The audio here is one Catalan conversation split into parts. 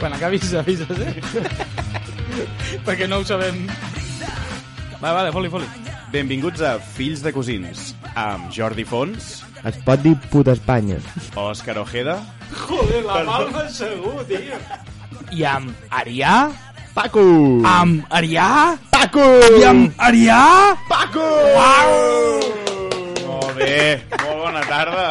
Quan acabis, avises, eh? Perquè no ho sabem. Va, vale, foli, foli. Benvinguts a Fills de Cosins, amb Jordi Fons, Es pot dir puta Espanya. Òscar Ojeda, Joder, la palma segur, tio. I amb Arià? Paco! Amb Arià? Paco! I amb Arià? Paco! Molt bé, molt bona tarda.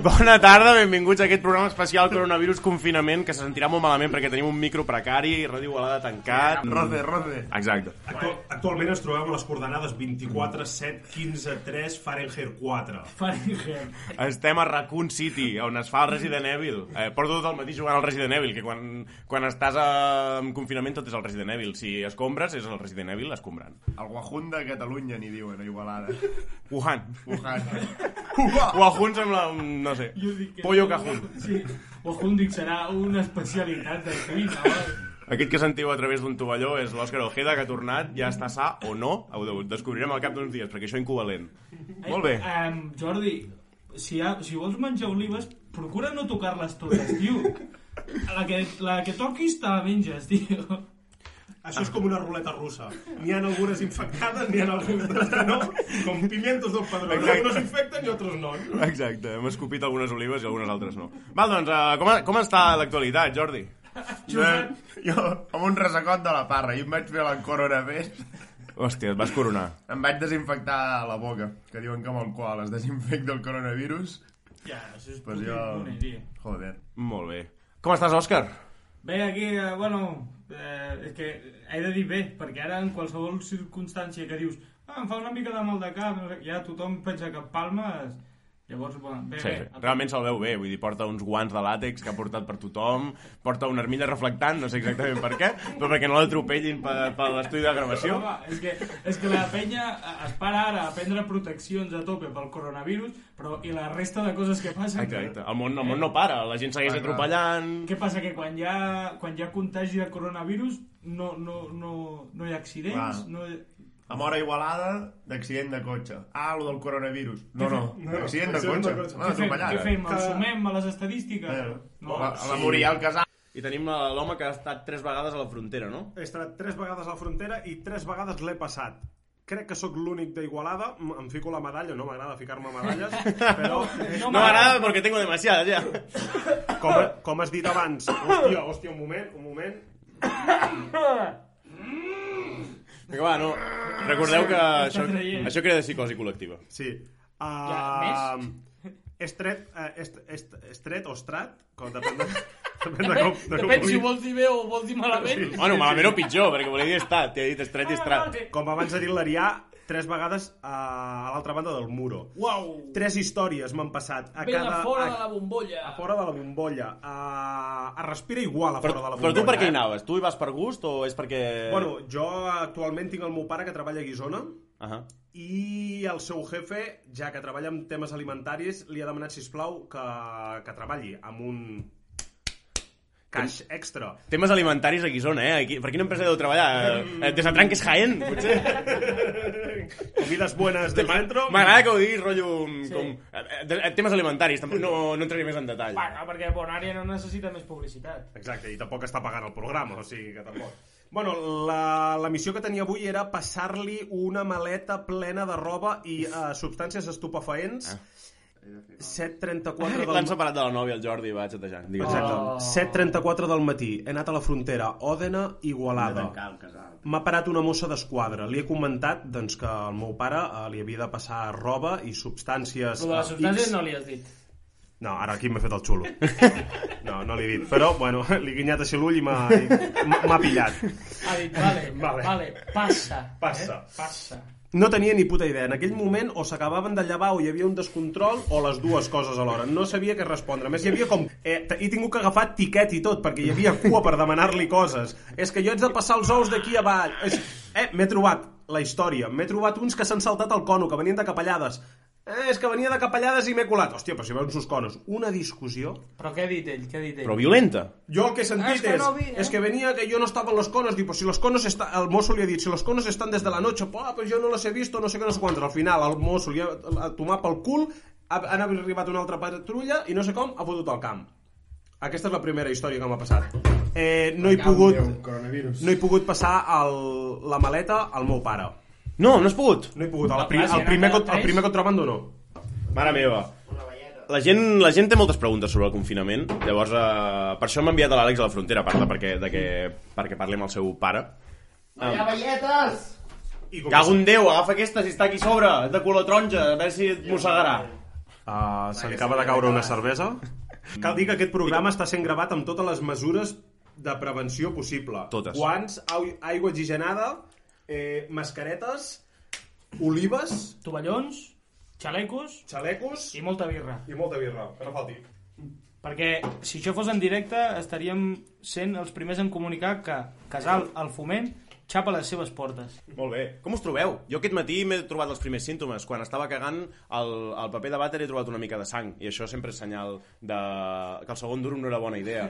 Bona tarda, benvinguts a aquest programa especial Coronavirus Confinament, que se sentirà molt malament perquè tenim un micro precari, Ràdio Igualada tancat... Mm. Roce, roce. Exacte. Actu actualment ens trobem a les coordenades 24, 7, 15, 3, Fahrenheit 4. Estem a Raccoon City, on es fa el Resident Evil. Eh, porto tot el matí jugant al Resident Evil, que quan, quan estàs a, en confinament tot és el Resident Evil. Si escombres, és el Resident Evil escombrant. El Guajun de Catalunya, n'hi diuen, a Igualada. Wuhan. Wuhan. Wuhan sembla, un- no sé, pollo cajun. Sí, o Hundic serà una especialitat del cuina, oi? Aquest que sentiu a través d'un tovalló és l'Òscar Ojeda, que ha tornat, ja està sa o no, ho de- ho descobrirem al cap d'uns dies, perquè això incovalent. Molt bé. Um, Jordi, si, ha, si vols menjar olives, procura no tocar-les totes, tio. La que, la que toquis te la menges, tio. Això és com una ruleta russa. N'hi ha algunes infectades, n'hi ha algunes que no, com pimientos del padró. Exacte. Algunos infecten i altres no. Exacte, hem escopit algunes olives i algunes altres no. Val, doncs, uh, com, com està l'actualitat, Jordi? jo, jo, amb un ressecot de la parra, i em vaig fer l'encoronavés, Hòstia, et vas coronar. em vaig desinfectar la boca, que diuen que amb el qual es desinfecta el coronavirus. Ja, això és Pues puto jo... immune, tio. Joder. Molt bé. Com estàs, Òscar? Bé, aquí, eh, bueno, eh, és que he de dir bé, perquè ara en qualsevol circumstància que dius ah, em fa una mica de mal de cap, no sé, ja tothom pensa que palmes, llavors, bueno, bé, Sí, bé, sí. realment se'l veu bé, vull dir, porta uns guants de làtex que ha portat per tothom, porta una armilla reflectant, no sé exactament per què, però perquè no l'atropellin per, per l'estudi de gravació. Home, és que, és que la penya eh, es para ara a prendre proteccions a tope pel coronavirus, però i la resta de coses que passen... Exacte, el món, el món no para, la gent segueix Clar, clar. atropellant... Què passa? Que quan hi ha, quan hi ha contagi de coronavirus no, no, no, no hi ha accidents, Clar. no... hi- A mora Igualada, d'accident de cotxe. Ah, lo del coronavirus. No, no, accident de accident de cotxe. cotxe. Una Què fem, atropellada. què fem? El Cada- sumem a les estadístiques? Eh, No, la, la Muriel Casal. I tenim la- l'home que ha estat tres vegades a la frontera, no? He estat tres vegades a la frontera i tres vegades l'he passat. Crec que sóc l'únic d'Igualada. M- Em fico la medalla, no m'agrada ficar-me medalles, però... No m'agrada perquè tengo demasiadas, ja. Com, com has dit abans, hòstia, hòstia, un moment, un moment. Vinga, va, no. Recordeu que això, traient. això crea de psicosi col·lectiva. Sí. Uh, Ja, Estret, uh, est, est, estret o estrat, com depèn de, depèn de com... De com Depèn si vulguis. vols dir bé o vols dir malament. Sí. Ah, Bueno, malament o pitjor, perquè volia dir estat. T'he dit estret i estrat. Com abans ha dit l'Arià, tres vegades uh, a l'altra banda del muro. Uau! Tres històries m'han passat. A Ve de cada, fora a, de la bombolla. a fora de la bombolla. A, a respira igual a Però, fora de la bombolla. però tu per què hi eh? anaves? Tu hi vas per gust o és perquè... Bueno, jo actualment tinc el meu pare que treballa a Guisona Uh -huh. i el seu jefe, ja que treballa amb temes alimentaris, li ha demanat, si plau que, que treballi amb un cash extra. Temes alimentaris a Guisona, eh? Aquí, per quina empresa deu treballar? Eh, Desatranques Jaén, potser? Comides buenas de centro. M'agrada que ho diguis, rotllo... Sí. Com, eh, eh, de- eh, temes alimentaris, tampoc no, no entraré més en detall. Bueno, perquè Bonària no necessita més publicitat. Exacte, i tampoc està pagant el programa, o sigui que tampoc. Bueno, la, la missió que tenia avui era passar-li una maleta plena de roba i uh, substàncies estupefaents. 7.34 del, L'han separat de la nòvia, el Jordi, va xatejant. Digues. Exacte. Oh. 7.34 del matí. He anat a la frontera. Òdena, Igualada. M'ha parat una mossa d'esquadra. Li he comentat doncs, que el meu pare eh, li havia de passar roba i substàncies... Lo de les eh, substàncies X. no li has dit. No, ara aquí m'he fet el xulo. No, no l'he dit. Però, bueno, li he guinyat així l'ull i m'ha m'ha- m'ha pillat. Ha dit, vale, vale, Vale. passa. Passa. Eh? Passa. No tenia ni puta idea. En aquell moment o s'acabaven de llevar o hi havia un descontrol o les dues coses alhora. No sabia què respondre. A més, hi havia com... Eh, t- he tingut que agafar tiquet i tot, perquè hi havia cua per demanar-li coses. És que jo haig de passar els ous d'aquí avall. És... Eh, m'he trobat la història. M'he trobat uns que s'han saltat el cono, que venien de capellades. Eh, és que venia de capellades i m'he colat. Hòstia, però si veus uns conos. Una discussió... Però què ha dit ell? Què ha dit ell? Però violenta. Yo el que he sentido Es que no vi, es, ¿eh? es que venía que yo no estaba en los conos, digo, si los conos están, al Mosul le he dicho, si los conos ah, están desde la noche, "Buah, pues yo no los he visto, no sé qué, no sé cuánto. Al final, al Mosul, ja a tomar pel cul, ha, han arribat una altra patrulla i no sé com ha fotut al camp. Aquesta és la primera història que m'ha passat. Eh, no he pogut... Déu, coronavirus. No he pogut passar el, la maleta al meu pare. No, no has pogut. No he pogut. Ah, El, Va, pri, clar, si el, primer, han que, quedat el tres. primer que trobando no. Mare meva. La gent, la gent té moltes preguntes sobre el confinament. Llavors, eh, per això m'ha enviat a l'Àlex a la frontera, a part de perquè, de que, perquè parli amb el seu pare. No hi ha velletes! I Cago en Déu, agafa aquesta si està aquí sobre, és de color taronja, a veure si et mossegarà. Uh, se li acaba de caure una cervesa. Cal dir que aquest programa està sent gravat amb totes les mesures de prevenció possible. Totes. Guants, au- aigua oxigenada, eh, mascaretes, olives, Tovallons, xalecos xalecos i molta birra. i molta birra, que no falti. Perquè si això fos en directe estaríem sent els primers en comunicar que Casal, el foment, xapa les seves portes. Molt bé. Com us trobeu? Jo aquest matí m'he trobat els primers símptomes. Quan estava cagant el, el paper de vàter he trobat una mica de sang. I això sempre és senyal de... que el segon duro no era bona idea.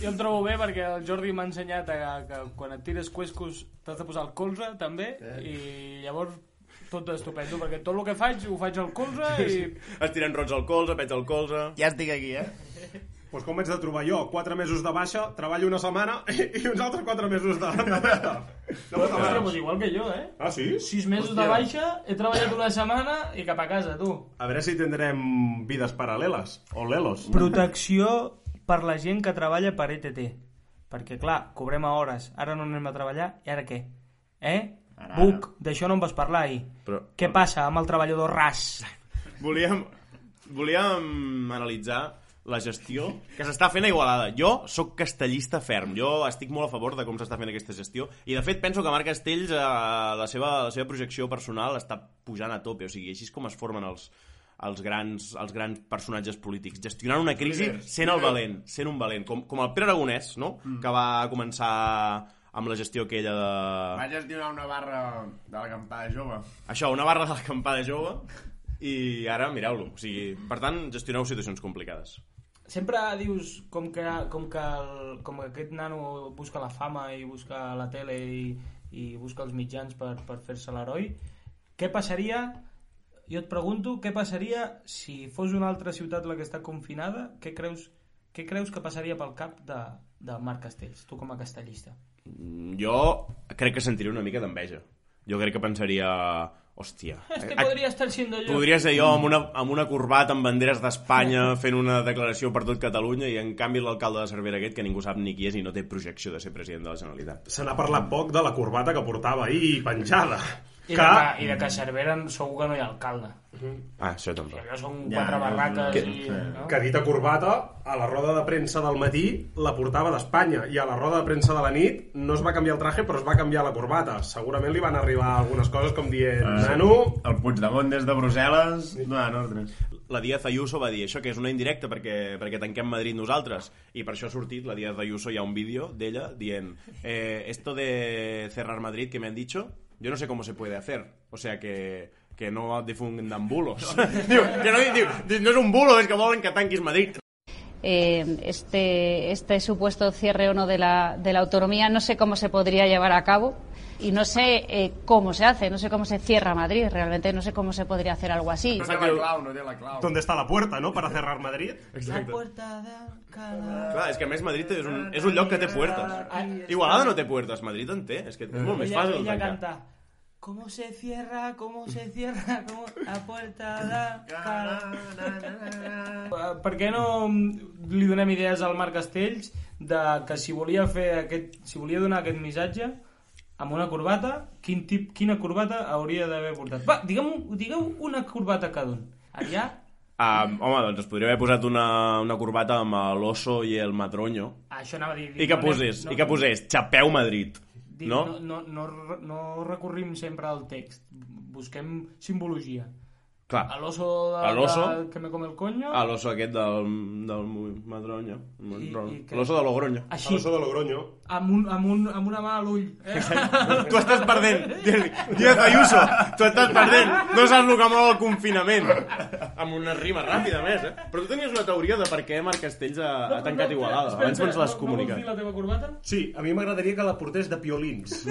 Jo em trobo bé perquè el Jordi m'ha ensenyat a, que quan et tires cuescos t'has de posar el colze, també, i llavors tot estupendo, perquè tot el que faig ho faig al colze i... Estirant rots al colze, pets al colze... Ja estic aquí, eh? Pues Doncs com vaig de trobar jo? 4 mesos de baixa, treballo una setmana i, i uns altres 4 mesos de... de festa. De puta Hòstia, mare. pues igual que jo, eh? Ah, sí? Sis mesos de baixa, he treballat una setmana i cap a casa, tu. A veure si tindrem vides paral·leles. O lelos. Protecció per la gent que treballa per ETT. Perquè, clar, cobrem a hores, ara no anem a treballar, i ara què? Eh? Ara, Buc, d'això no em vas parlar ahir. Però- Què passa amb el treballador ras? Volíem, volíem analitzar la gestió que s'està fent a Igualada. Jo sóc castellista ferm, jo estic molt a favor de com s'està fent aquesta gestió i de fet penso que Marc Castells eh, la, seva, la seva projecció personal està pujant a tope, o sigui, així és com es formen els, els, grans, els grans personatges polítics, gestionant una crisi sent el valent, sent un valent, com, com el Pere Aragonès, no? que va començar amb la gestió aquella de... Vaig gestionar una barra de la campada jove. Això, una barra de l'acampada jove i ara mireu-lo. O sigui, per tant, gestioneu situacions complicades. Sempre dius com que, com que, el, com que aquest nano busca la fama i busca la tele i, i busca els mitjans per, per fer-se l'heroi. Què passaria, jo et pregunto, què passaria si fos una altra ciutat la que està confinada? Què creus, què creus que passaria pel cap de, de Marc Castells, tu com a castellista? Mm, Jo crec que sentiria una mica d'enveja. Jo crec que pensaria... Hòstia... Este a- podria estar siendo yo. Podria ser jo amb una, amb una corbata amb banderes d'Espanya fent una declaració per tot Catalunya i en canvi l'alcalde de Cervera aquest que ningú sap ni qui és i no té projecció de ser president de la Generalitat. Se n'ha parlat poc de la corbata que portava ahir, penjada. I, de que... que, I de que a Cervera segur que no hi ha alcalde. Ah, això també. Allò són Ja, quatre no, barraques que- i... No? que dita corbata, a la roda de premsa del matí la portava d'Espanya i a la roda de premsa de la nit no es va canviar el traje però es va canviar la corbata. Segurament li van arribar algunes coses com dient, Ah, sí. nano, El Puigdemont des de Brussel·les donant ordres. La Díaz Ayuso va dir això, que és una indirecta perquè, perquè tanquem Madrid nosaltres. I per això ha sortit la Díaz Ayuso, hi ha un vídeo d'ella dient eh, esto de cerrar Madrid que me han dicho, yo no sé cómo se puede hacer. O sea que que no difundan bulos. diu, que no, diu, diu, no és un bulo, és que volen que tanquis Madrid. eh, este, este supuesto cierre o no de la, de la autonomía. No sé cómo se podría llevar a cabo y no sé eh, cómo se hace, no sé cómo se cierra Madrid. Realmente no sé cómo se podría hacer algo así. No té la clau, no té la clau. ¿dónde está la puerta, no?, para cerrar Madrid? Exacte. Puerta de cada... Clar, és que a més Madrid és un, és un lloc que té Ah, puertes. Igualada no té puertes, Madrid en té. És que és molt més Ella, fàcil ella tancar. canta. ¿Cómo se cierra? ¿Cómo se cierra? ¿Cómo la puerta de cada... Eh, Per què no li donem idees al Marc Castells de que si volia fer aquest, si volia donar aquest missatge amb una corbata, quin tip, quina corbata hauria d'haver portat? Va, digueu, digueu una corbata cada un. Allà, Um, home, doncs es podria haver posat una, una corbata amb l'oso i el madroño, això anava a dir... I que posés, i que posés, xapeu Madrid. Dic, No? No, no, no, re- no recorrim sempre al text, busquem simbologia. Clar. Al oso, de- Al oso. del que me come el coño. A l'oso aquest del, del Madroño. I- i què? Ah, L'oso de Logroño. Així, Oso de Logroño. amb, un, amb, un, amb una mà a l'ull. Eh? Tu estàs perdent, Jerry. Díaz Ayuso, tu estàs perdent. No saps el que mou el confinament. Amb una rima ràpida, a més, eh? Però tu tenies una teoria de per què Marc Castells ha, ha tancat Igualada. Espera, Abans espera, ens l'has no- No vols comunicat. dir la teva corbata? Sí, a mi m'agradaria que la portés de piolins.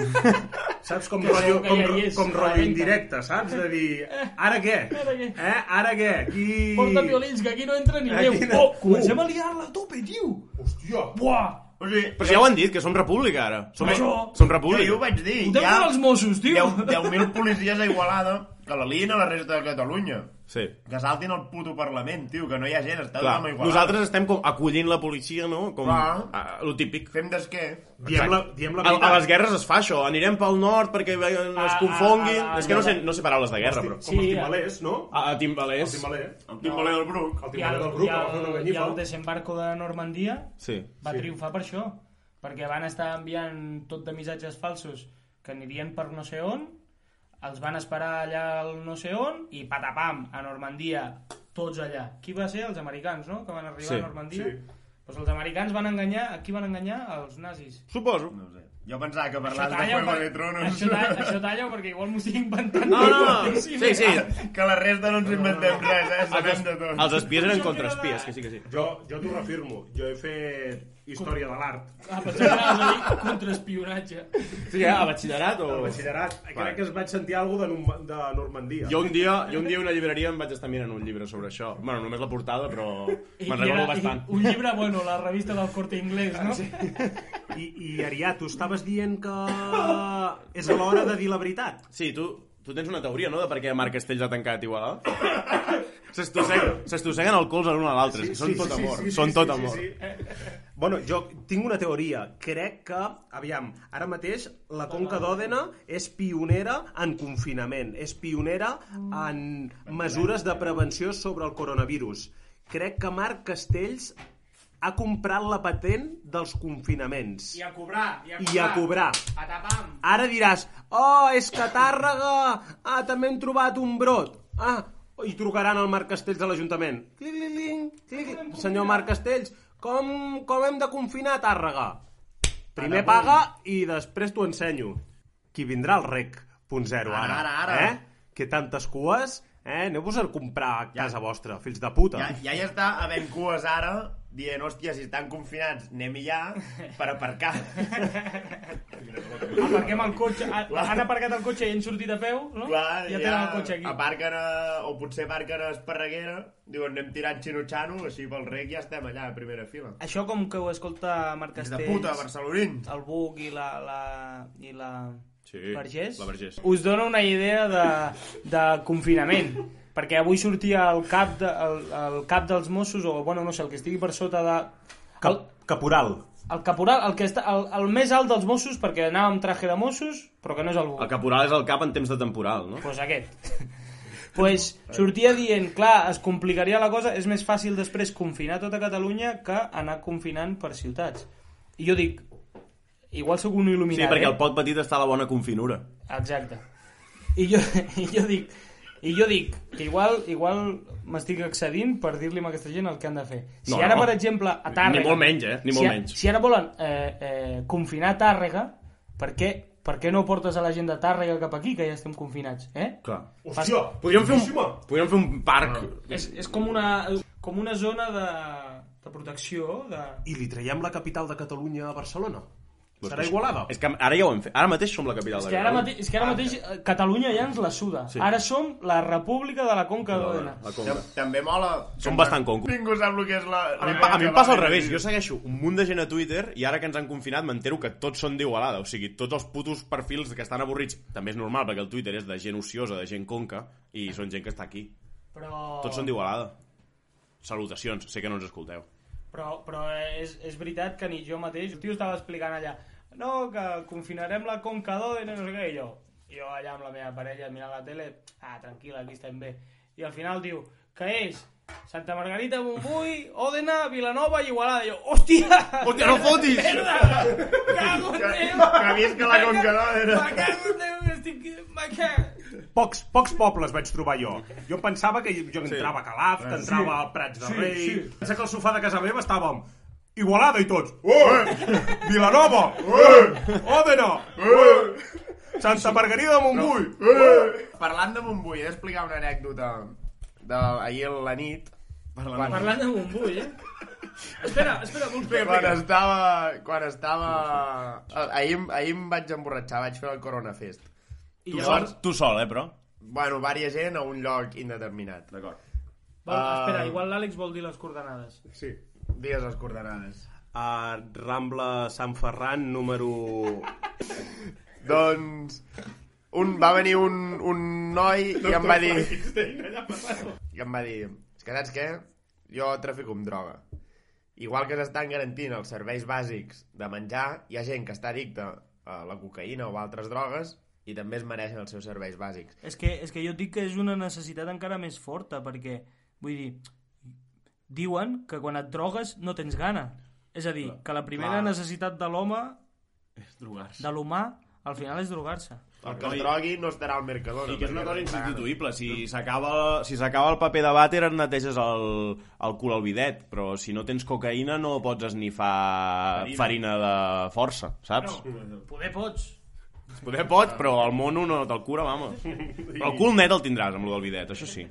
saps? Com rotllo, segur que com, ja hi és, com a la rotllo venta. indirecte, saps? De dir, ara què? Ara què? Eh? Ara què? Qui... Porta violins, que aquí no entra ni Aquí Déu. no. Oh, comencem a liar-la a tope, tio. Hòstia! Buah, O sigui, Però si ja ho han dit, que som república, ara. Som, Això. som jo, jo república. ho vaig dir. Uh, ho Hi deu ha fer els Mossos, tio. 10 10.000 policies a Igualada que l'alien a la resta de Catalunya. Sí. Que saltin al puto Parlament, tio, que no hi ha gent, està Clar, tothom a Igualada. nosaltres estem com acollint la policia, no? Com Clar. a, lo típic. Fem d'esquer. Diem la, diem la A, a les veritat. guerres es fa això, anirem pel nord perquè ve- es Ah, a- confonguin... a- a- És que no sé, no sé paraules de guerra, però... Com els Sí, timbalers, no? A, a Timbalers... Timbaler. El timbaler del Bruc. El I el, timbaler del i grup, que va fer una el, i el ganyifa. desembarco de Normandia Sí. va triomfar per això. Perquè van estar enviant tot de missatges falsos que anirien per no sé on, els van esperar allà al no sé on i patapam, a Normandia, tots allà. Qui va ser? Els americans, no? Que van arribar Sí, a Normandia. Doncs els americans van enganyar... A qui van enganyar? Els nazis. Suposo. No ho sé. Jo pensava que parlaves de per- Juego de Tronos. això, talla, això talla perquè igual m'ho estic inventant. No, no, no. Sí, Sí, sí. Ah, Que la resta no ens inventem res, eh? Sabem de tot. Els espies eren contraespies, que sí que sí. Jo, jo t'ho reafirmo. Jo he fet història de l'art. Ah, pensava que anaves a dir contraespionatge. Sí, a batxillerat o... Al batxillerat, crec que es vaig sentir alguna de, Norm- de Normandia. Jo un dia, jo un dia a una llibreria em vaig estar mirant un llibre sobre això. Bueno, només la portada, però I me'n era- recordo i bastant. Un llibre, bueno, la revista del corte inglés, no? Sí. I, i Arià, tu estaves dient que és a l'hora de dir la veritat. Sí, tu, tu tens una teoria, no?, de per què Marc Castells ha tancat Igualada? S'estosseguen s'estosseguen el colze l'un a l'altre, sí, són tot amor, són tot amor. Sí, sí. Bueno, jo tinc una teoria. Crec que, aviam, ara mateix la Conca d'Òdena és pionera en confinament, és pionera en mesures de prevenció sobre el coronavirus. Crec que Marc Castells ha comprat la patent dels confinaments. I a cobrar, i a I a cobrar. Patapam. Ara diràs, oh, és que a Tàrrega, ah, també hem trobat un brot. Ah, i trucaran al Marc Castells a l'Ajuntament. Clic-clic-clic, clic-clic. Senyor Marc Castells, com, com hem de confinar a Tàrrega? Primer paga i després t'ho ensenyo. Qui vindrà al rec, punt zero, ara. Ara, ara, ara. Eh? Que tantes cues, eh? Aneu-vos a comprar a casa vostra, fills de puta. Ja, ja hi està havent cues ara dient, hòstia, si estan confinats, anem ja per aparcar. Aparquem el cotxe. Ha- Han aparcat el cotxe i han sortit a peu, no? Clar, ja tenen el cotxe aquí. Aparquen a, o potser aparquen a Esparreguera, diuen, anem tirant xinutxano, així pel rec ja estem allà a primera fila. Això com que ho escolta Marc Fills Castells, de puta, barcelonins! el Buc i la... la i la... Sí, Vergés, la Vergés. us dona una idea de, de confinament perquè avui sortia el cap, de, el, el cap dels Mossos o bueno, no sé, el que estigui per sota de... Cap, caporal. El caporal, el, que està, el, el més alt dels Mossos, perquè anava amb traje de Mossos, però que no és el Buc. El caporal és el cap en temps de temporal, no? Pues aquest. pues sortia dient, clar, es complicaria la cosa, és més fàcil després confinar tota Catalunya que anar confinant per ciutats. I jo dic, igual sóc un Sí, il·luminat, perquè eh? el pot petit està a la bona confinura. Exacte. I jo, i jo dic, i jo dic que igual, igual m'estic accedint per dir-li a aquesta gent el que han de fer. Si No, ara, no. per exemple, a Tàrrega... Ni molt menys, eh? Ni molt si, a- menys. Si ara volen eh, eh, confinar Tàrrega, per què, per què no portes a la gent de Tàrrega cap aquí, que ja estem confinats, eh? Clar. Hòstia, Podríem fer un, boníssima. podríem fer un parc. Ah. És, és com, una, com una zona de, de protecció. De... I li traiem la capital de Catalunya a Barcelona. Serà Igualada. És Doncs que ara ja ho hem fet. Ara mateix som la capital És de que, ara Catalunya. mateix, és que ara mateix eh, Catalunya ja ens la suda. Sí. Ara som la república de la Conca d'Òdena. La Ja, Conca. també mola... Som bastant concos. Ningú sap el que és la... A mi, em pa- a mi em passa al revés, jo segueixo un munt de gent a Twitter i ara que ens han confinat m'entero que tots són d'Igualada, o sigui, tots els putos perfils que estan avorrits, també és normal perquè el Twitter és de gent ociosa, de gent conca, i són gent que està aquí. Però... Tots són d'Igualada. Salutacions, sé que no ens escolteu. Però, però és, és veritat que ni jo mateix... El tio estava explicant allà no, que confinarem la Conca d'Òdena, no sé què, i jo, jo allà amb la meva parella mirant la tele, ah, tranquil, aquí estem bé. I al final diu, que és? Santa Margarita, Montbui, Òdena, Vilanova i Igualada. I jo, hòstia! Hòstia, no fotis! Merda! Cago en Déu! Que visca la Conca d'Òdena. Me cago en Déu, que estic... Me cago... pocs, pocs pobles vaig trobar jo. Jo pensava que jo entrava a Calaf, que Sí. entrava a Prats de Sí, Rei... Eh, Sí, sí. Pensa que al sofà de casa meva estàvem Igualada i tots. Eh! Vilanova! Eh! Òdena! Eh! Santa Margarida de Montbui! Eh! Parlant de Montbui, he d'explicar una anècdota de ahir a la nit. Parlant, Parlant de Montbui, eh? espera, espera, vols fer Quan estava... Quan estava... Ahir, ahir em vaig emborratxar, vaig fer el Corona Fest. I Tu, llavors, sol, tu sol, eh, però? Bueno, vària gent a un lloc indeterminat. D'acord. vol, eh, espera, Ah. igual l'Àlex vol dir les coordenades. Sí. Dies les coordenades. A Rambla Sant Ferran, número... Doncs... Un, va venir un, un noi i em va dir... I em va dir... És que saps què? Jo trafico amb droga. Igual que s'estan garantint els serveis bàsics de menjar, hi ha gent que està addicta a la cocaïna o a altres drogues i també es mereixen els seus serveis bàsics. És que, és que jo et dic que és una necessitat encara més forta, perquè, vull dir, diuen que quan et drogues no tens gana. És a dir, que la primera clar. necessitat de l'home, Drogar-se. de l'humà, al final és drogar-se. El que es drogui no estarà al Mercadona. I que és una cosa perquè- insubstituïble. Si s'acaba si s'acaba el paper de vàter, et neteges el, el cul al bidet. Però si no tens cocaïna, no pots esnifar Ah, farina, de força, saps? Poder pots. Poder pots, però el mono no te'l cura, vamos. Però el cul net el tindràs amb el del bidet, això sí.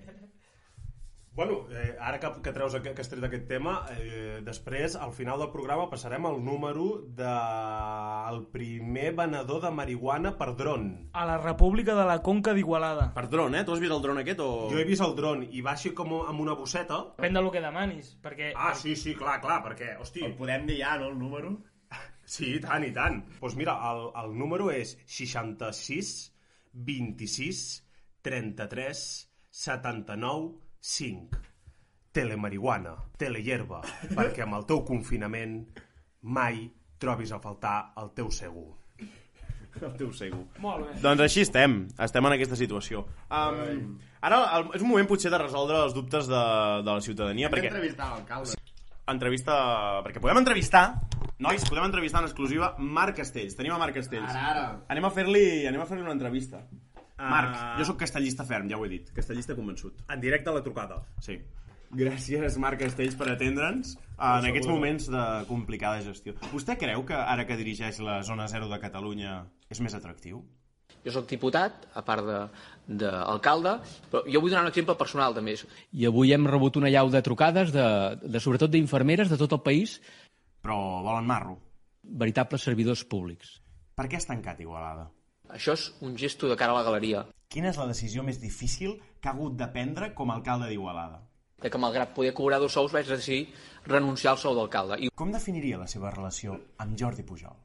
Bueno, eh, ara que, que treus aqu- que has tret aquest tema, eh, després, al final del programa, passarem al número del de... el primer venedor de marihuana per dron. A la República de la Conca d'Igualada. Per dron, eh? Tu has vist el dron aquest o...? Jo he vist el dron i va així com amb una bosseta. Depèn del que demanis, perquè... Ah, sí, sí, clar, clar, perquè, hosti... El podem dir ja, no, el número? Sí, i tant, i tant. Doncs pues mira, el, el número és 66 26 33 79 5. Telemarihuana, telehierba, perquè amb el teu confinament mai trobis a faltar el teu segur. El teu sego. Molt bé. Doncs així estem, estem en aquesta situació. Um, ara el, és un moment potser de resoldre els dubtes de, de la ciutadania, Hem perquè entrevistat l'alcalde. entrevista... Perquè podem entrevistar, nois, podem entrevistar en exclusiva Marc Castells. Tenim a Marc Castells. Ara, ara. Anem a fer-li anem a fer-li una entrevista. Ah. Marc, jo sóc castellista ferm, ja ho he dit. Castellista convençut. En directe a la trucada. Sí. Gràcies, Marc Castells, per atendre'ns eh, en aquests moments de complicada gestió. Vostè creu que ara que dirigeix la zona zero de Catalunya és més atractiu? Jo sóc diputat, a part d'alcalde, però jo vull donar un exemple personal, també. I avui hem rebut una llau de trucades, de, de sobretot d'infermeres de tot el país, Però volen marro. veritables servidors públics. Per què has tancat Igualada? Això és un gesto de cara a la galeria, Quina és la decisió més difícil que ha hagut de prendre com a alcalde d'Igualada? de que malgrat poder cobrar dos sous vaig decidir renunciar al sou d'alcalde. I Com definiria la seva relació amb Jordi Pujol?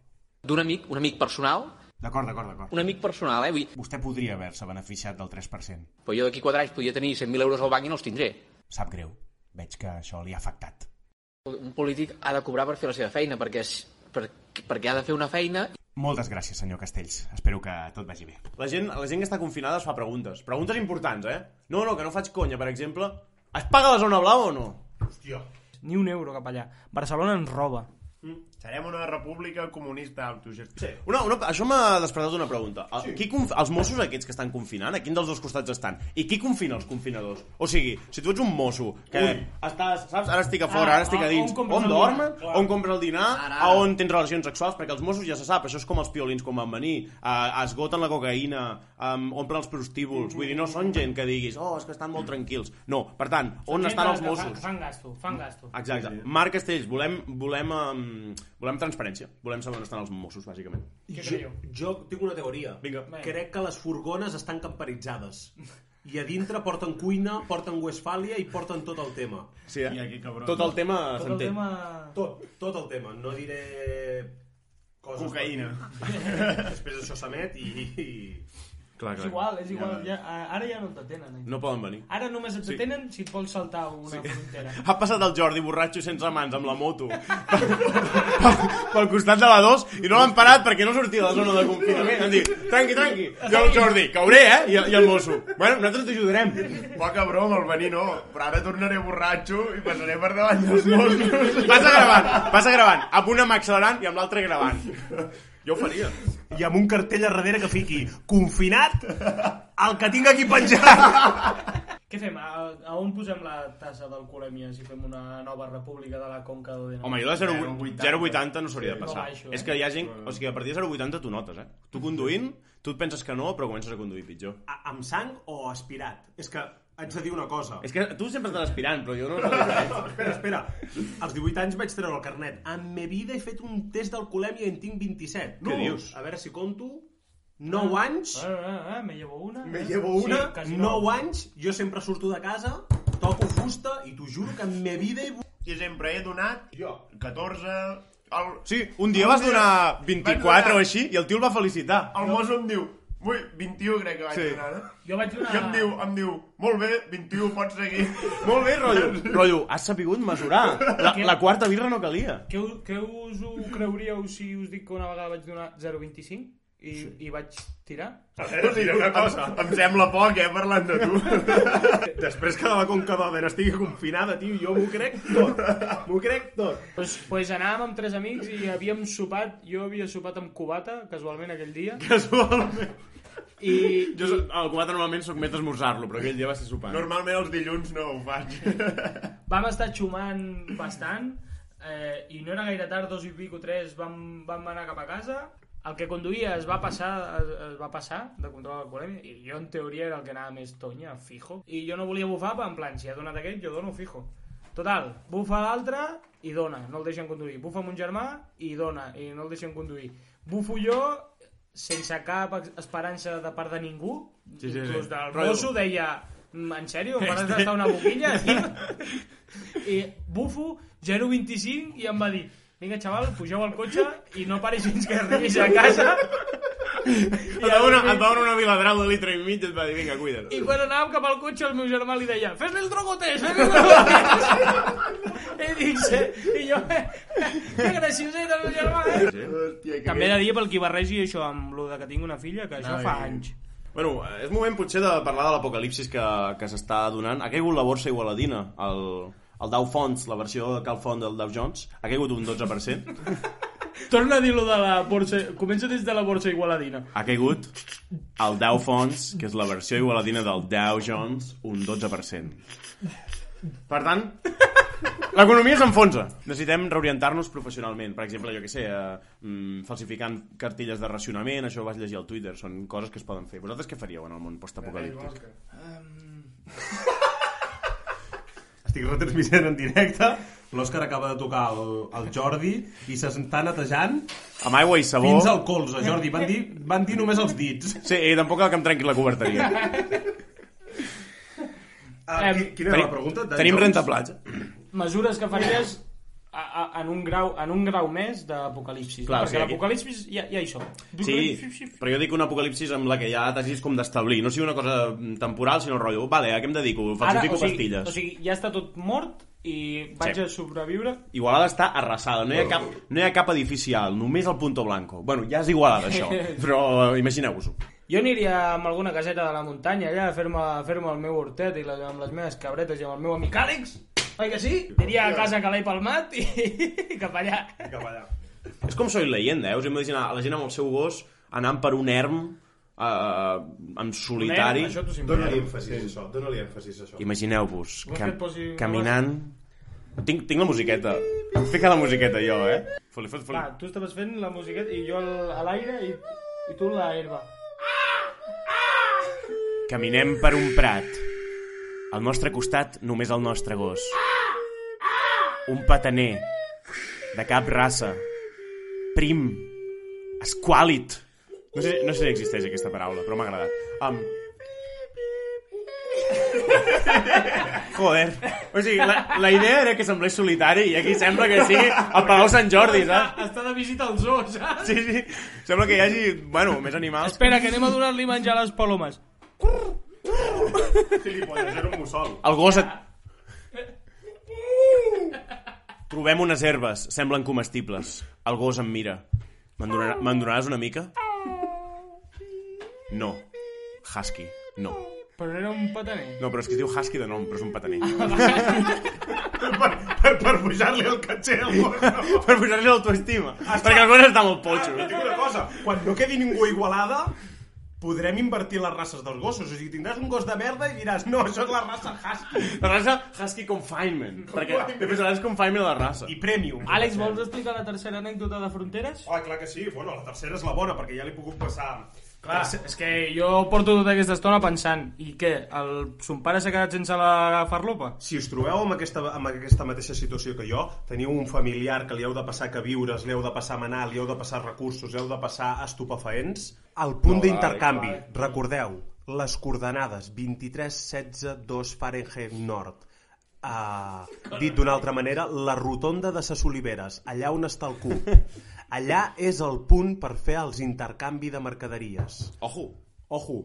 d'un amic, un amic personal, D'acord, d'acord, d'acord. un amic personal, eh? Vull, dir, Vostè podria haver-se beneficiat del 3%. però jo d'aquí quatre anys podia tenir 100.000 euros al banc i no els tindré. Sap greu. Veig que això li ha afectat. Un polític ha de cobrar per fer la seva feina, perquè, és, per, perquè ha de fer una feina Moltes gràcies, senyor Castells. Espero que tot vagi bé. La gent, la gent que està confinada es fa preguntes. Preguntes importants, eh? No, no, que no faig conya, per exemple. Es paga la zona blau o no? Ni un euro cap allà. Barcelona ens roba. Serem una república comunista autogestionada. Una, una, això m'ha despertat una pregunta. El, qui conf... Els Mossos aquests que estan confinant, a quin dels dos costats estan? I qui confina els confinadors? O sigui, si tu ets un mosso que estàs, saps, ara estic a fora, Ah, ara estic a on- dins, on on, compres el dormen, dinar, clar. on compres el dinar, Ara, a ara. on tens relacions sexuals, perquè els Mossos ja se sap, això és com els piolins quan van venir, eh, esgoten la cocaïna, um, omplen els Mm-hmm. prostíbuls, vull dir, no són gent que diguis, oh, és que estan molt tranquils. No, per tant, on estan els Fan, Mossos? fan gasto, fan gasto. Exacte. Marc Castells, volem, volem, um, volem transparència. Volem saber on estan els Mossos, bàsicament. Què Jo, creieu? jo tinc una teoria. Vinga. Crec que les furgones estan camperitzades. I a dintre porten cuina, porten Westfàlia i porten tot el tema. Sí, eh? que cabrons. Tot el tema Tot el Ah, s'entén. tema... Tot, tot el tema. No diré... Coses Cocaïna. Després això s'emet i, i... Clar, És igual, és igual. Ja, ara ja no et detenen. eh? No poden venir. Ara només et detenen si et vols saltar una frontera. Ha passat el Jordi borratxo sense mans amb la moto pel costat de la 2 i no l'han parat perquè no sortia de la zona de confinament. Han dit, tranqui, tranqui. Jo el Jordi, cauré, eh? I, el- i el mosso. Bueno, nosaltres t'ajudarem. Poca broma, el venir no, però ara tornaré borratxo i passaré per davant dels Mossos. Passa gravant, passa gravant. Amb una m'accelerant i amb l'altra gravant. Jo ho faria. i amb un cartell a darrere que fiqui confinat el que tinc aquí penjat. Què fem? A, a on posem la tassa d'alcoholèmia si fem una nova república de la Conca d'Odena? Home, jo de 0,80 0,80 no s'hauria de No passar. baixo, eh? És que hi ha gent... O sigui, a partir de 0,80 tu notes, eh? Tu conduint, tu et penses que no, però comences a conduir pitjor. A, amb sang o aspirat? És que haig de dir una cosa. És que tu sempre estàs aspirant, però jo no... no Espera, espera. Als 18 anys vaig treure el carnet. En me vida he fet un test d'alcoholèmia i en tinc 27. Què dius? Ah. A veure si compto... 9 anys... Ah, ah, ah, me llevo una. Me eh? llevo una, Sí, quasi 9 anys, jo sempre surto de casa, toco fusta i t'ho juro que en me vida he... Jo sempre he donat... Jo. 14... El... Sí, un dia vas donar 24 o així i el tio el va felicitar. El mosso em diu... Ui, 21 crec que vaig Sí. sí. donar, eh?" no? Jo vaig donar... I em diu, em diu, molt bé, 21, pots seguir. Molt bé, rotllo. rotllo, has sabut mesurar. Ah, La, la quarta birra no calia. Què us, què us ho creuríeu si us dic que una vegada vaig donar 0,25 i, sí. i vaig tirar? A veure, diré una cosa. Em, em sembla poc, eh, parlant de tu. Després que la Conca d'Òdena estigui confinada, tio, jo m'ho crec tot. M'ho crec tot. Pues, pues anàvem amb tres amics i havíem sopat, jo havia sopat amb cubata, casualment aquell dia, Casualment. i, Jo, so- el comat normalment sóc més d'esmorzar-lo, però aquell dia va ser sopant. Normalment els dilluns no ho faig. vam estar xumant bastant eh, i no era gaire tard, dos i pico, tres vam, vam anar cap a casa el que conduïa es va passar, es, es va passar de control alcoholèmic i jo en teoria era el que anava més tonya, fijo i jo no volia bufar, però en plan, si ha donat aquest jo dono fijo total, bufa l'altre i dona, no el deixen conduir bufa mon germà i dona, i no el deixen conduir bufo jo sense cap ex- esperança de part de ningú Sí, sí, sí. inclús del Rotllo. mosso deia "Mm, en sèrio, em faràs gastar una boquilla? tio?" i Eh, bufo 0,25 i em va dir vinga xaval, pugeu al cotxe i no paris fins que arribis a casa Et va donar, et va donar una viladrau de litre i mig i et va dir, vinga, cuida't. i quan anàvem cap al cotxe el meu germà li deia fes-li el drogotes, fes-li el drogotes i dic "Sí". i jo que graciós era el meu germà eh? Hòstia, que... també he de dir pel qui barregi això amb lo de que tinc una filla que això fa anys Bueno, és moment potser de parlar de l'apocalipsis que, que s'està donant. Ha caigut la borsa igualadina, el, el Dow Fonts, la versió de Cal Font del Dow Jones, ha caigut un 12%. torna a dir lo de la borsa comença des de la borsa igualadina Ha caigut el Dow Fonts, que és la versió igualadina del Dow Jones, un 12%. Per tant, l'economia s'enfonsa. Necessitem reorientar-nos professionalment. Per exemple, jo què sé, eh, mm, falsificant cartilles de racionament, això ho vas llegir al Twitter, són coses que es poden fer. Vosaltres què faríeu en el món postapocalíptic? Estic retransmissant en directe, l'Òscar acaba de tocar el, el Jordi i s'està netejant Amb aigua i sabó... fins al colze, Jordi. Van dir, van dir només els dits. Sí, i tampoc cal que em trenqui la coberteria. Ah, qui- quina era la pregunta? Ah, Dan tenim eh? Jones? rentaplatja. mesures que faries a, a, en, un grau, en un grau més d'apocalipsis. Clar, Clar, o perquè sigui, l'apocalipsis ja, ja hi som. Sí, però jo dic un apocalipsis amb la que ja t'hagis com d'establir. No sigui una cosa mm, temporal, sinó rotllo. Vale, a què em dedico? Falsifico o sigui, pastilles. o sigui, ja està tot mort i vaig Sí. a sobreviure. Igualada està arrasada, no hi ha cap, no hi ha cap edifici alt, només el Punto Blanco. Bueno, ja és Igualada, això, però eh, imagineu-vos-ho. Jo aniria amb alguna caseta de la muntanya allà a fer-me fer el meu hortet i les, amb les meves cabretes i amb el meu amic Àlex. Oi que sí? Aniria a casa Calai Palmat i, i cap allà. Cap allà. És com Soy Leyenda, eh? Us hem d'imaginar la gent amb el seu gos anant per un erm eh, en solitari. Nen, erm, Això t'ho simplifico. Dóna-li èmfasis a això, dóna-li èmfasis a això. Imagineu-vos, Vols cam que et posi una caminant... Tinc, tinc la musiqueta. Em fica la musiqueta jo, eh? Foli, foli, foli. Va, tu estaves fent la musiqueta i jo al- a l'aire i, i tu la herba. Caminem per un prat. Al nostre costat, només el nostre gos. Un pataner, de cap raça, prim, esquàlit. No sé, no sé si existeix aquesta paraula, però m'ha agradat. Um... Joder. O sigui, la, la idea era que semblés solitari i aquí sembla que sigui el Palau Sant Jordi, saps? Està de visita al zoo, saps? Sí, sí. Sembla que hi hagi, bueno, més animals. Espera, que anem a donar-li menjar a les palomes. Gilipolles, era un mussol. El gos et... Trobem unes herbes, semblen comestibles. El gos em mira. Me'n donarà- me'n donaràs una mica? No. Husky. No. Però era un pataner. No, però és que es diu Husky de nom, però és un pataner. per, per, per pujar-li el caché al mosso. per pujar-li l'autoestima. Perquè el gos està molt potxo. eh? Et dic una cosa, quan no quedi ningú a Igualada, podrem invertir les races dels gossos. O sigui, tindràs un gos de merda i diràs, no, això és la raça husky. La raça Husky Confinement. Perquè després seràs Confinement a la raça. I premium. Àlex, vols explicar la tercera anècdota de Fronteres? Ah, clar que sí. Bueno, la tercera és la bona, perquè ja li he pogut passar... Clar, és que jo porto tota aquesta estona pensant i què, el, son pare s'ha quedat sense la farlopa? Si us trobeu amb aquesta, amb aquesta mateixa situació que jo, teniu un familiar que li heu de passar que viures, li heu de passar a manar, li heu de passar recursos, li heu de passar estupefaents, al punt d'intercanvi, recordeu, les coordenades 23-16-2 Fahrenheit Nord. Uh, dit d'una altra manera, la rotonda de ses Oliveres, allà on està el cub. Allà és el punt per fer els intercanvi de mercaderies. Ojo, Ojo,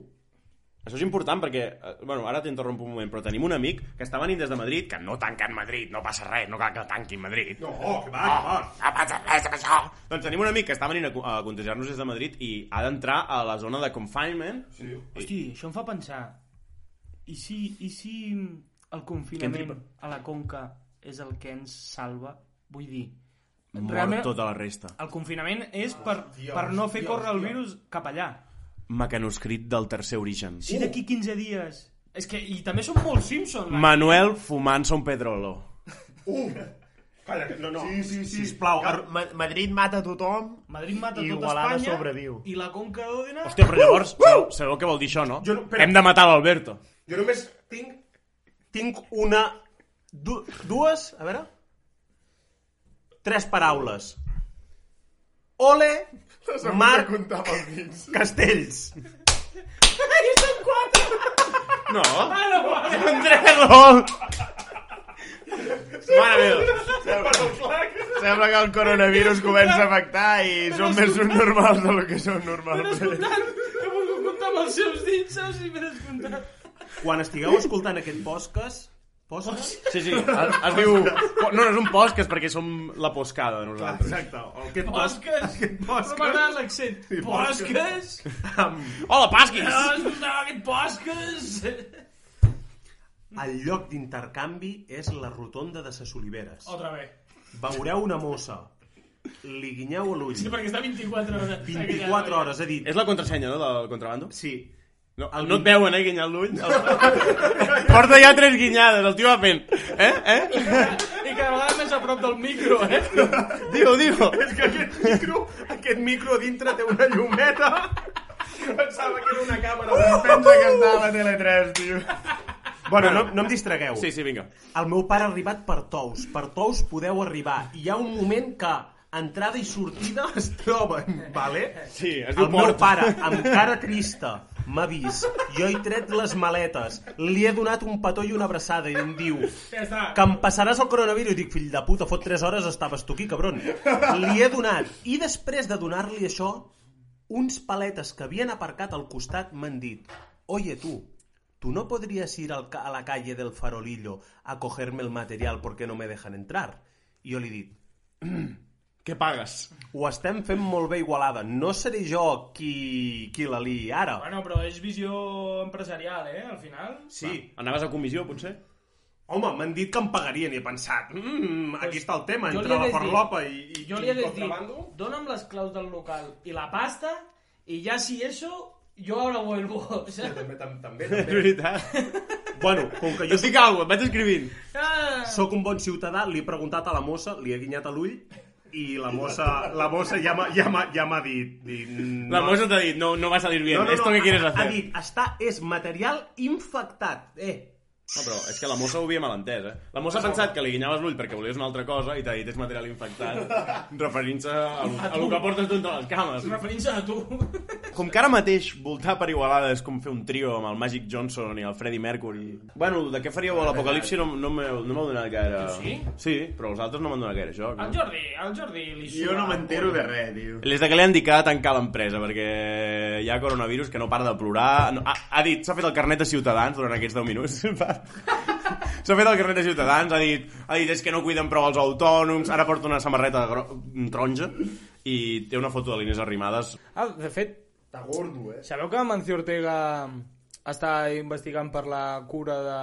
Això és important perquè, eh, bueno, ara t'interrompo un moment, però tenim un amic que està venint des de Madrid, que no tanquen Madrid, no passa res, no cal que tanquin Madrid. No, que va, que va. no passa res amb això. Doncs tenim un amic que està venint a, co- a contagiar-nos des de Madrid i ha d'entrar a la zona de confinement. Sí. Hosti, això em fa pensar. I si, i si el confinament a la Conca és el que ens salva? Vull dir, Mor Realment- tota la resta. el confinament és per, per no fer córrer el virus cap allà. Mecanoscrit del tercer origen. Si d'aquí 15 dies... És que, i també són molt Simpson. l'any. Manuel fumant-se un pedrolo. Calla, que- no, no. Sí, sí, sí. Plau, Sisplau, ar... Ma- Madrid mata tothom. Madrid mata tot Igualada Espanya sobreviu. i la Conca d'Òdena... Hòstia, però llavors, Uh! sabeu, sabeu què vol dir això, no? Jo no- espera. Hem de matar l'Alberto. jo només tinc, tinc una... Du, dues, a veure... Tres paraules. Ole, Marc, Castells. Ai, són quatre! No, Ah, no, vale. un tres gol! Mare meva. Sembla que el coronavirus comença a afectar i són més normals del que són normals. Comptant, he volgut comptar amb els seus dits, saps? I m'he descomptat. Quan estigueu escoltant aquest podcast... Podcast? Sí, sí, es, es diu... No, no és un podcast, perquè som la poscada, nosaltres. Exacte, aquest podcast. Bosques! bosques. Però m'agrada l'accent. Bosques! Hola, Pasquis! Ah, escoltava aquest bosques! El lloc d'intercanvi és la rotonda de ses Oliveres. Otra vez. Veureu una mossa, li guinyeu a l'ull, Sí, perquè està 24 hores. 24 hores, he dit. És la contrasenya, no, del contrabando? Sí, No, el no et veuen, eh, guinyar l'ull? El- Porta ja tres guinyades, el tio va fent. Eh? Eh? I cada vegada més a prop del micro, eh? Digo, digo. És que aquest micro, aquest micro a dintre té una llumeta que pensava que era una càmera. Uh! Pensa que estava a Tele3, tio. Bueno, no, no em distragueu. Sí, sí, vinga. El meu pare ha arribat per Tous. Per Tous podeu arribar. I hi ha un moment que entrada i sortida es troben, vale? Sí, es diu El meu Port. pare, amb cara trista, m'ha vist. Jo he tret les maletes. Li he donat un petó i una abraçada i em diu Ja està. que em passaràs el coronavirus. Dic, fill de puta, fot 3 hores estaves tu aquí, cabron. Li he donat. I després de donar-li això, uns paletes que havien aparcat al costat m'han dit «Oye, tú, tú no podrías ir al ca- a la calle del Farolillo a cogerme el material porque no me dejan entrar?» I jo li he dit Què pagues? «Ho estem fent molt bé, Igualada. No seré jo qui, qui la liï ara». Bueno, però és visió empresarial, eh? Al final... Sí, Anaves a comissió, potser? home, m'han dit que em pagarien i he pensat «Mmm, aquí està el tema, Jo li entre la hagués dit- farlopa i, i, Jo i li hagués dit, contrabando». dona'm les claus del local i la pasta, i ja si eso, jo ara vuelvo, saps? També, tam- també, És també. veritat. Bueno, com que Jo jo estic calvo, et vaig escrivint. Ah! Soc un bon ciutadà, li he preguntat a la mossa, li he guinyat a l'ull i la mossa, la mossa ja m'ha ja m'ha- ja m'ha dit, dit... "No, La mossa t'ha dit, no, no va a salir bien, no, no, esto no, que quieres ha- hacer. Ha dit, està, és material infectat. Eh, No, però és que la mossa ho havia malentès, eh? La mossa ha pensat que li guinyaves l'ull perquè volies una altra cosa i t'ha dit és material infectat, referint-se a, lo- a lo que portes tu entre les cames. Referint-se a tu. Com que ara mateix voltar per Igualada és com fer un trio amb el Magic Johnson i el Freddie Mercury... Bueno, de què faríeu a l'Apocalipsi no, no m'heu no m'heu donat gaire... sí? Sí, Ah, però els altres no m'han donat gaire joc. El No? Jordi, el Jordi li Jo no m'entero de res, tio. Les de que li han dit que ha de tancar l'empresa perquè hi ha coronavirus que no para de plorar... No, ha, ha dit, s'ha fet el carnet de Ciutadans durant aquests 10 minuts. s'ha fet el carnet de Ciutadans, ha dit, ha dit és que no cuiden prou els autònoms, ara porta una samarreta gro... mm, taronja i té una foto de l'Inés Arrimadas Ah, de fet, Està gordo, eh? sabeu que Mancio Ortega està investigant per la cura de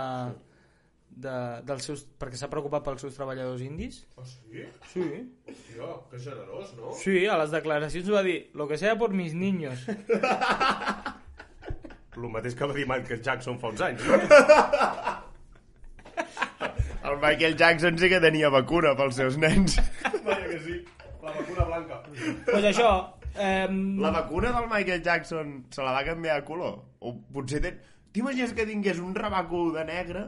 de, dels seus, perquè s'ha preocupat pels seus treballadors indis. Ah, sí? Sí. Hòstia, que generós, no? Sí, a les declaracions va dir lo que sea por mis niños. El mateix que va dir Michael Jackson fa uns anys. El Michael Jackson sí que tenia vacuna pels seus nens. Vaja que sí. La vacuna blanca. pues això... Ehm... La vacuna del Michael Jackson se la va canviar a color? O potser ten... T'imagines que tingués un rabaco de negre,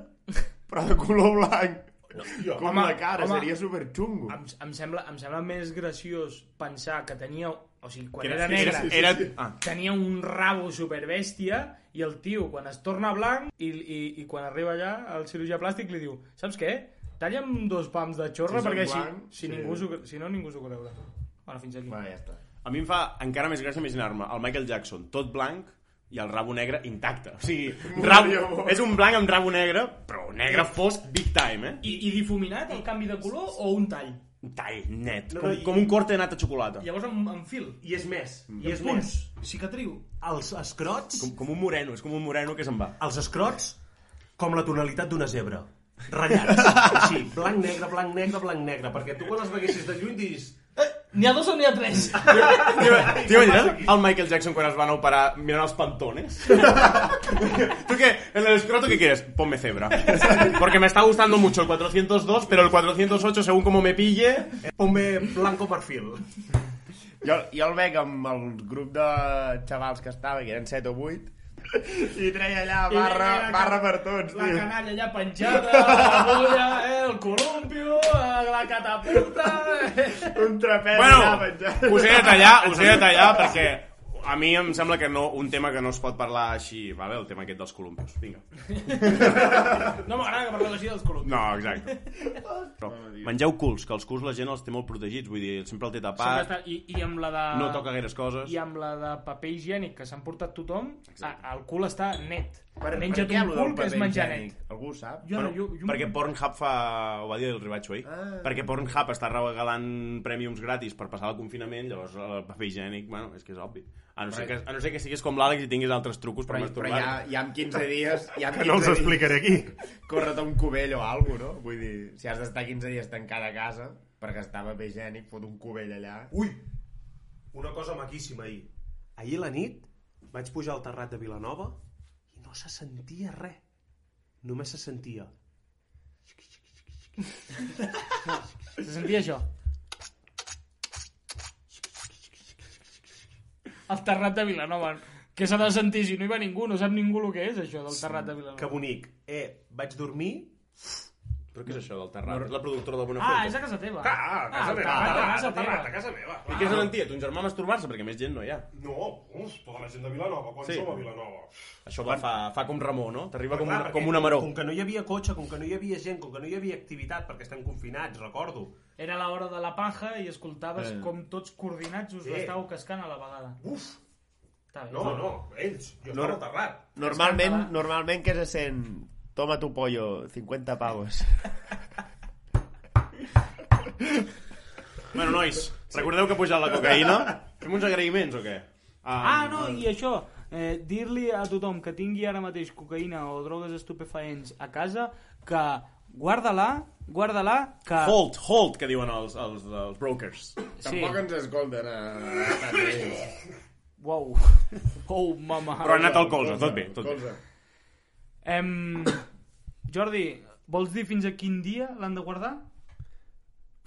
però de color blanc? No, Com Home, la cara, home. seria superxungo. Em, em, sembla, em sembla més graciós pensar que tenia... O sigui, quan Que era, era- negre... sí, sí, sí, era, sí. Ah. Tenia un rabo superbèstia i el tio, quan es torna blanc i, i, i quan arriba allà al cirurgià plàstic li diu saps què? Talla'm dos pams de xorra Si perquè sóc així, blanc, si, sí. ningú s'ho- si no ningú s'ho creu. Bueno, fins aquí. Va, Ah, ja està. A mi em fa encara més gràcia imaginar-me el Michael Jackson tot blanc i el rabo negre intacte. O sigui, rabo, és un blanc amb rabo negre, però negre fosc big time, eh? I, I difuminat el canvi de color o un tall? Un tall net, No, com, no, i- com un corte de nata de xocolata. Llavors amb, amb fil. I és més. I és punts. més. Cicatriu. Els escrots... Com, com un moreno, és com un moreno que se'n va. Els escrots com la tonalitat d'una zebra. Ratllats. Així, blanc, negre, blanc, negre, blanc, negre. Perquè tu quan els veguessis de lluny dius... N'hi ha dos o n'hi ha tres? Tio, el Michael Jackson quan es van operar mirant els pantones? ¿Tú qué? ¿En el escroto qué quieres? Ponme cebra. Porque me está gustando mucho el 402, pero el 408, según como me pille... Ponme "Eh, blanco perfil. Jo, jo el veig amb el grup de xavals que estava, que eren 7 o 8, i treia allà I barra, veia la barra can- per tots, La tio. canalla ja penjada, la bolla, eh, el columpio, eh, la catapulta... Eh. Un trapezi allà Bueno, penjat. us he de tallar, us he de tallar, perquè a mi em sembla que no, un tema que no es pot parlar així, vale? el tema aquest dels columpios. Vinga. No m'agrada que parleu així dels columpios. No, exacte. Però, mengeu culs, que els culs la gent els té molt protegits, vull dir, sempre el té Sempre tapat, està- I, I amb la de... no toca gaires coses. I amb la de paper higiènic que s'han portat tothom, a, el cul està net. Per, Menja't per què un allò del cul que és paper menjar higiènic? net. Algú ho sap? Jo, no, Bueno, jo, jo, perquè Pornhub fa... ho va dir el Ribatxo ahir. Ah. Perquè Pornhub està regalant prèmiums gratis per passar el confinament, llavors el paper higiènic, bueno, és que és obvi. A no ser que, a no ser que siguis com l'Àlex i tinguis altres trucos per Però, però masturbar. ja, ja en 15 dies... Ja en 15 No els dies- explicaré aquí. Corre't a un cubell o alguna cosa, no? Vull dir, si has d'estar 15 dies tancat a casa per gastar paper higiènic, fot un cubell allà. Ui! Una cosa maquíssima ahir. Ahir a la nit vaig pujar al terrat de Vilanova i no se sentia res. Només se sentia... Se sentia això. El terrat de Vilanova. Què s'ha de sentir si no hi va ningú? No sap ningú el que és, això del terrat de Vilanova. Que bonic. Eh, vaig dormir... Però què és això del Terrat? No, la productora de Bona Ah, és a casa teva. Ah, a casa meva. El terrat de Ah, casa terrat de teva. casa meva. Ah. I què és l'antia? Ton germà masturbar-se? Perquè més gent no hi ha. No, uf, tota la gent de Vilanova. Quan Sí. som a Vilanova? Això va, fa, fa com Ramó, no? T'arriba com, Clar, una, perquè com una maró. Com que no hi havia cotxe, com que no hi havia gent, com que no hi havia activitat, perquè estem confinats, recordo. Era l'hora de la paja i escoltaves Eh. com tots coordinats us Eh. l'estàveu cascant a la vegada. Uf, Està bé. no, no, ells, jo No. estava al terrat. Normalment, normalment que se sent... Toma tu pollo, 50 pavos. Bueno, nois, recordeu que ha pujat la cocaïna? Fem uns agraïments o què? Ah, no, i això, eh, dir-li a tothom que tingui ara mateix cocaïna o drogues estupefaents a casa que guarda-la, guarda-la, que... Hold, hold, que diuen els, els, els brokers. Sí. ens escolten a... a Wow. Oh, mama. Però ha anat al colze, tot bé, tot bé. Em... Jordi, vols dir fins a quin dia l'han de guardar?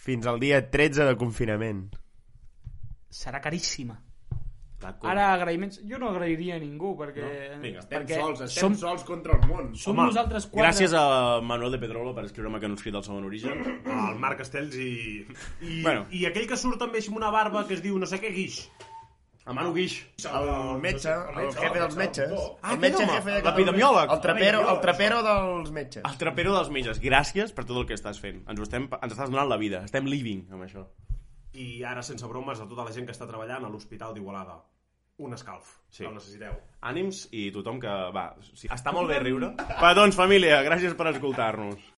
Fins al dia 13 de confinament. Serà caríssima. La coca. Ara, agraïments... Jo no agrairia a ningú, perquè... No? Vinga, estem perquè som, sols contra el món. som nosaltres quatre... Gràcies a Manuel de Pedrolo per escriure-me que no escrit del segon origen. El Marc Castells i... I, Bueno. i aquell que surt també amb una barba que es diu no sé què guix. A Manu Guix. El metge, el jefe dels metges. Ah, El metge aquest home, jefe de Catalunya. l'epidemiòleg. El trapero, el trapero dels metges. El trapero dels metges. Gràcies per tot el que estàs fent. Ens, ho estem, ens estàs donant la vida. Estem living amb això. I ara, sense bromes, a tota la gent que està treballant a l'Hospital d'Igualada. Un escalf, Sí. sí. el necessiteu. Ànims i tothom que... Va, sí. està molt bé riure. Va, doncs, família, gràcies per escoltar-nos.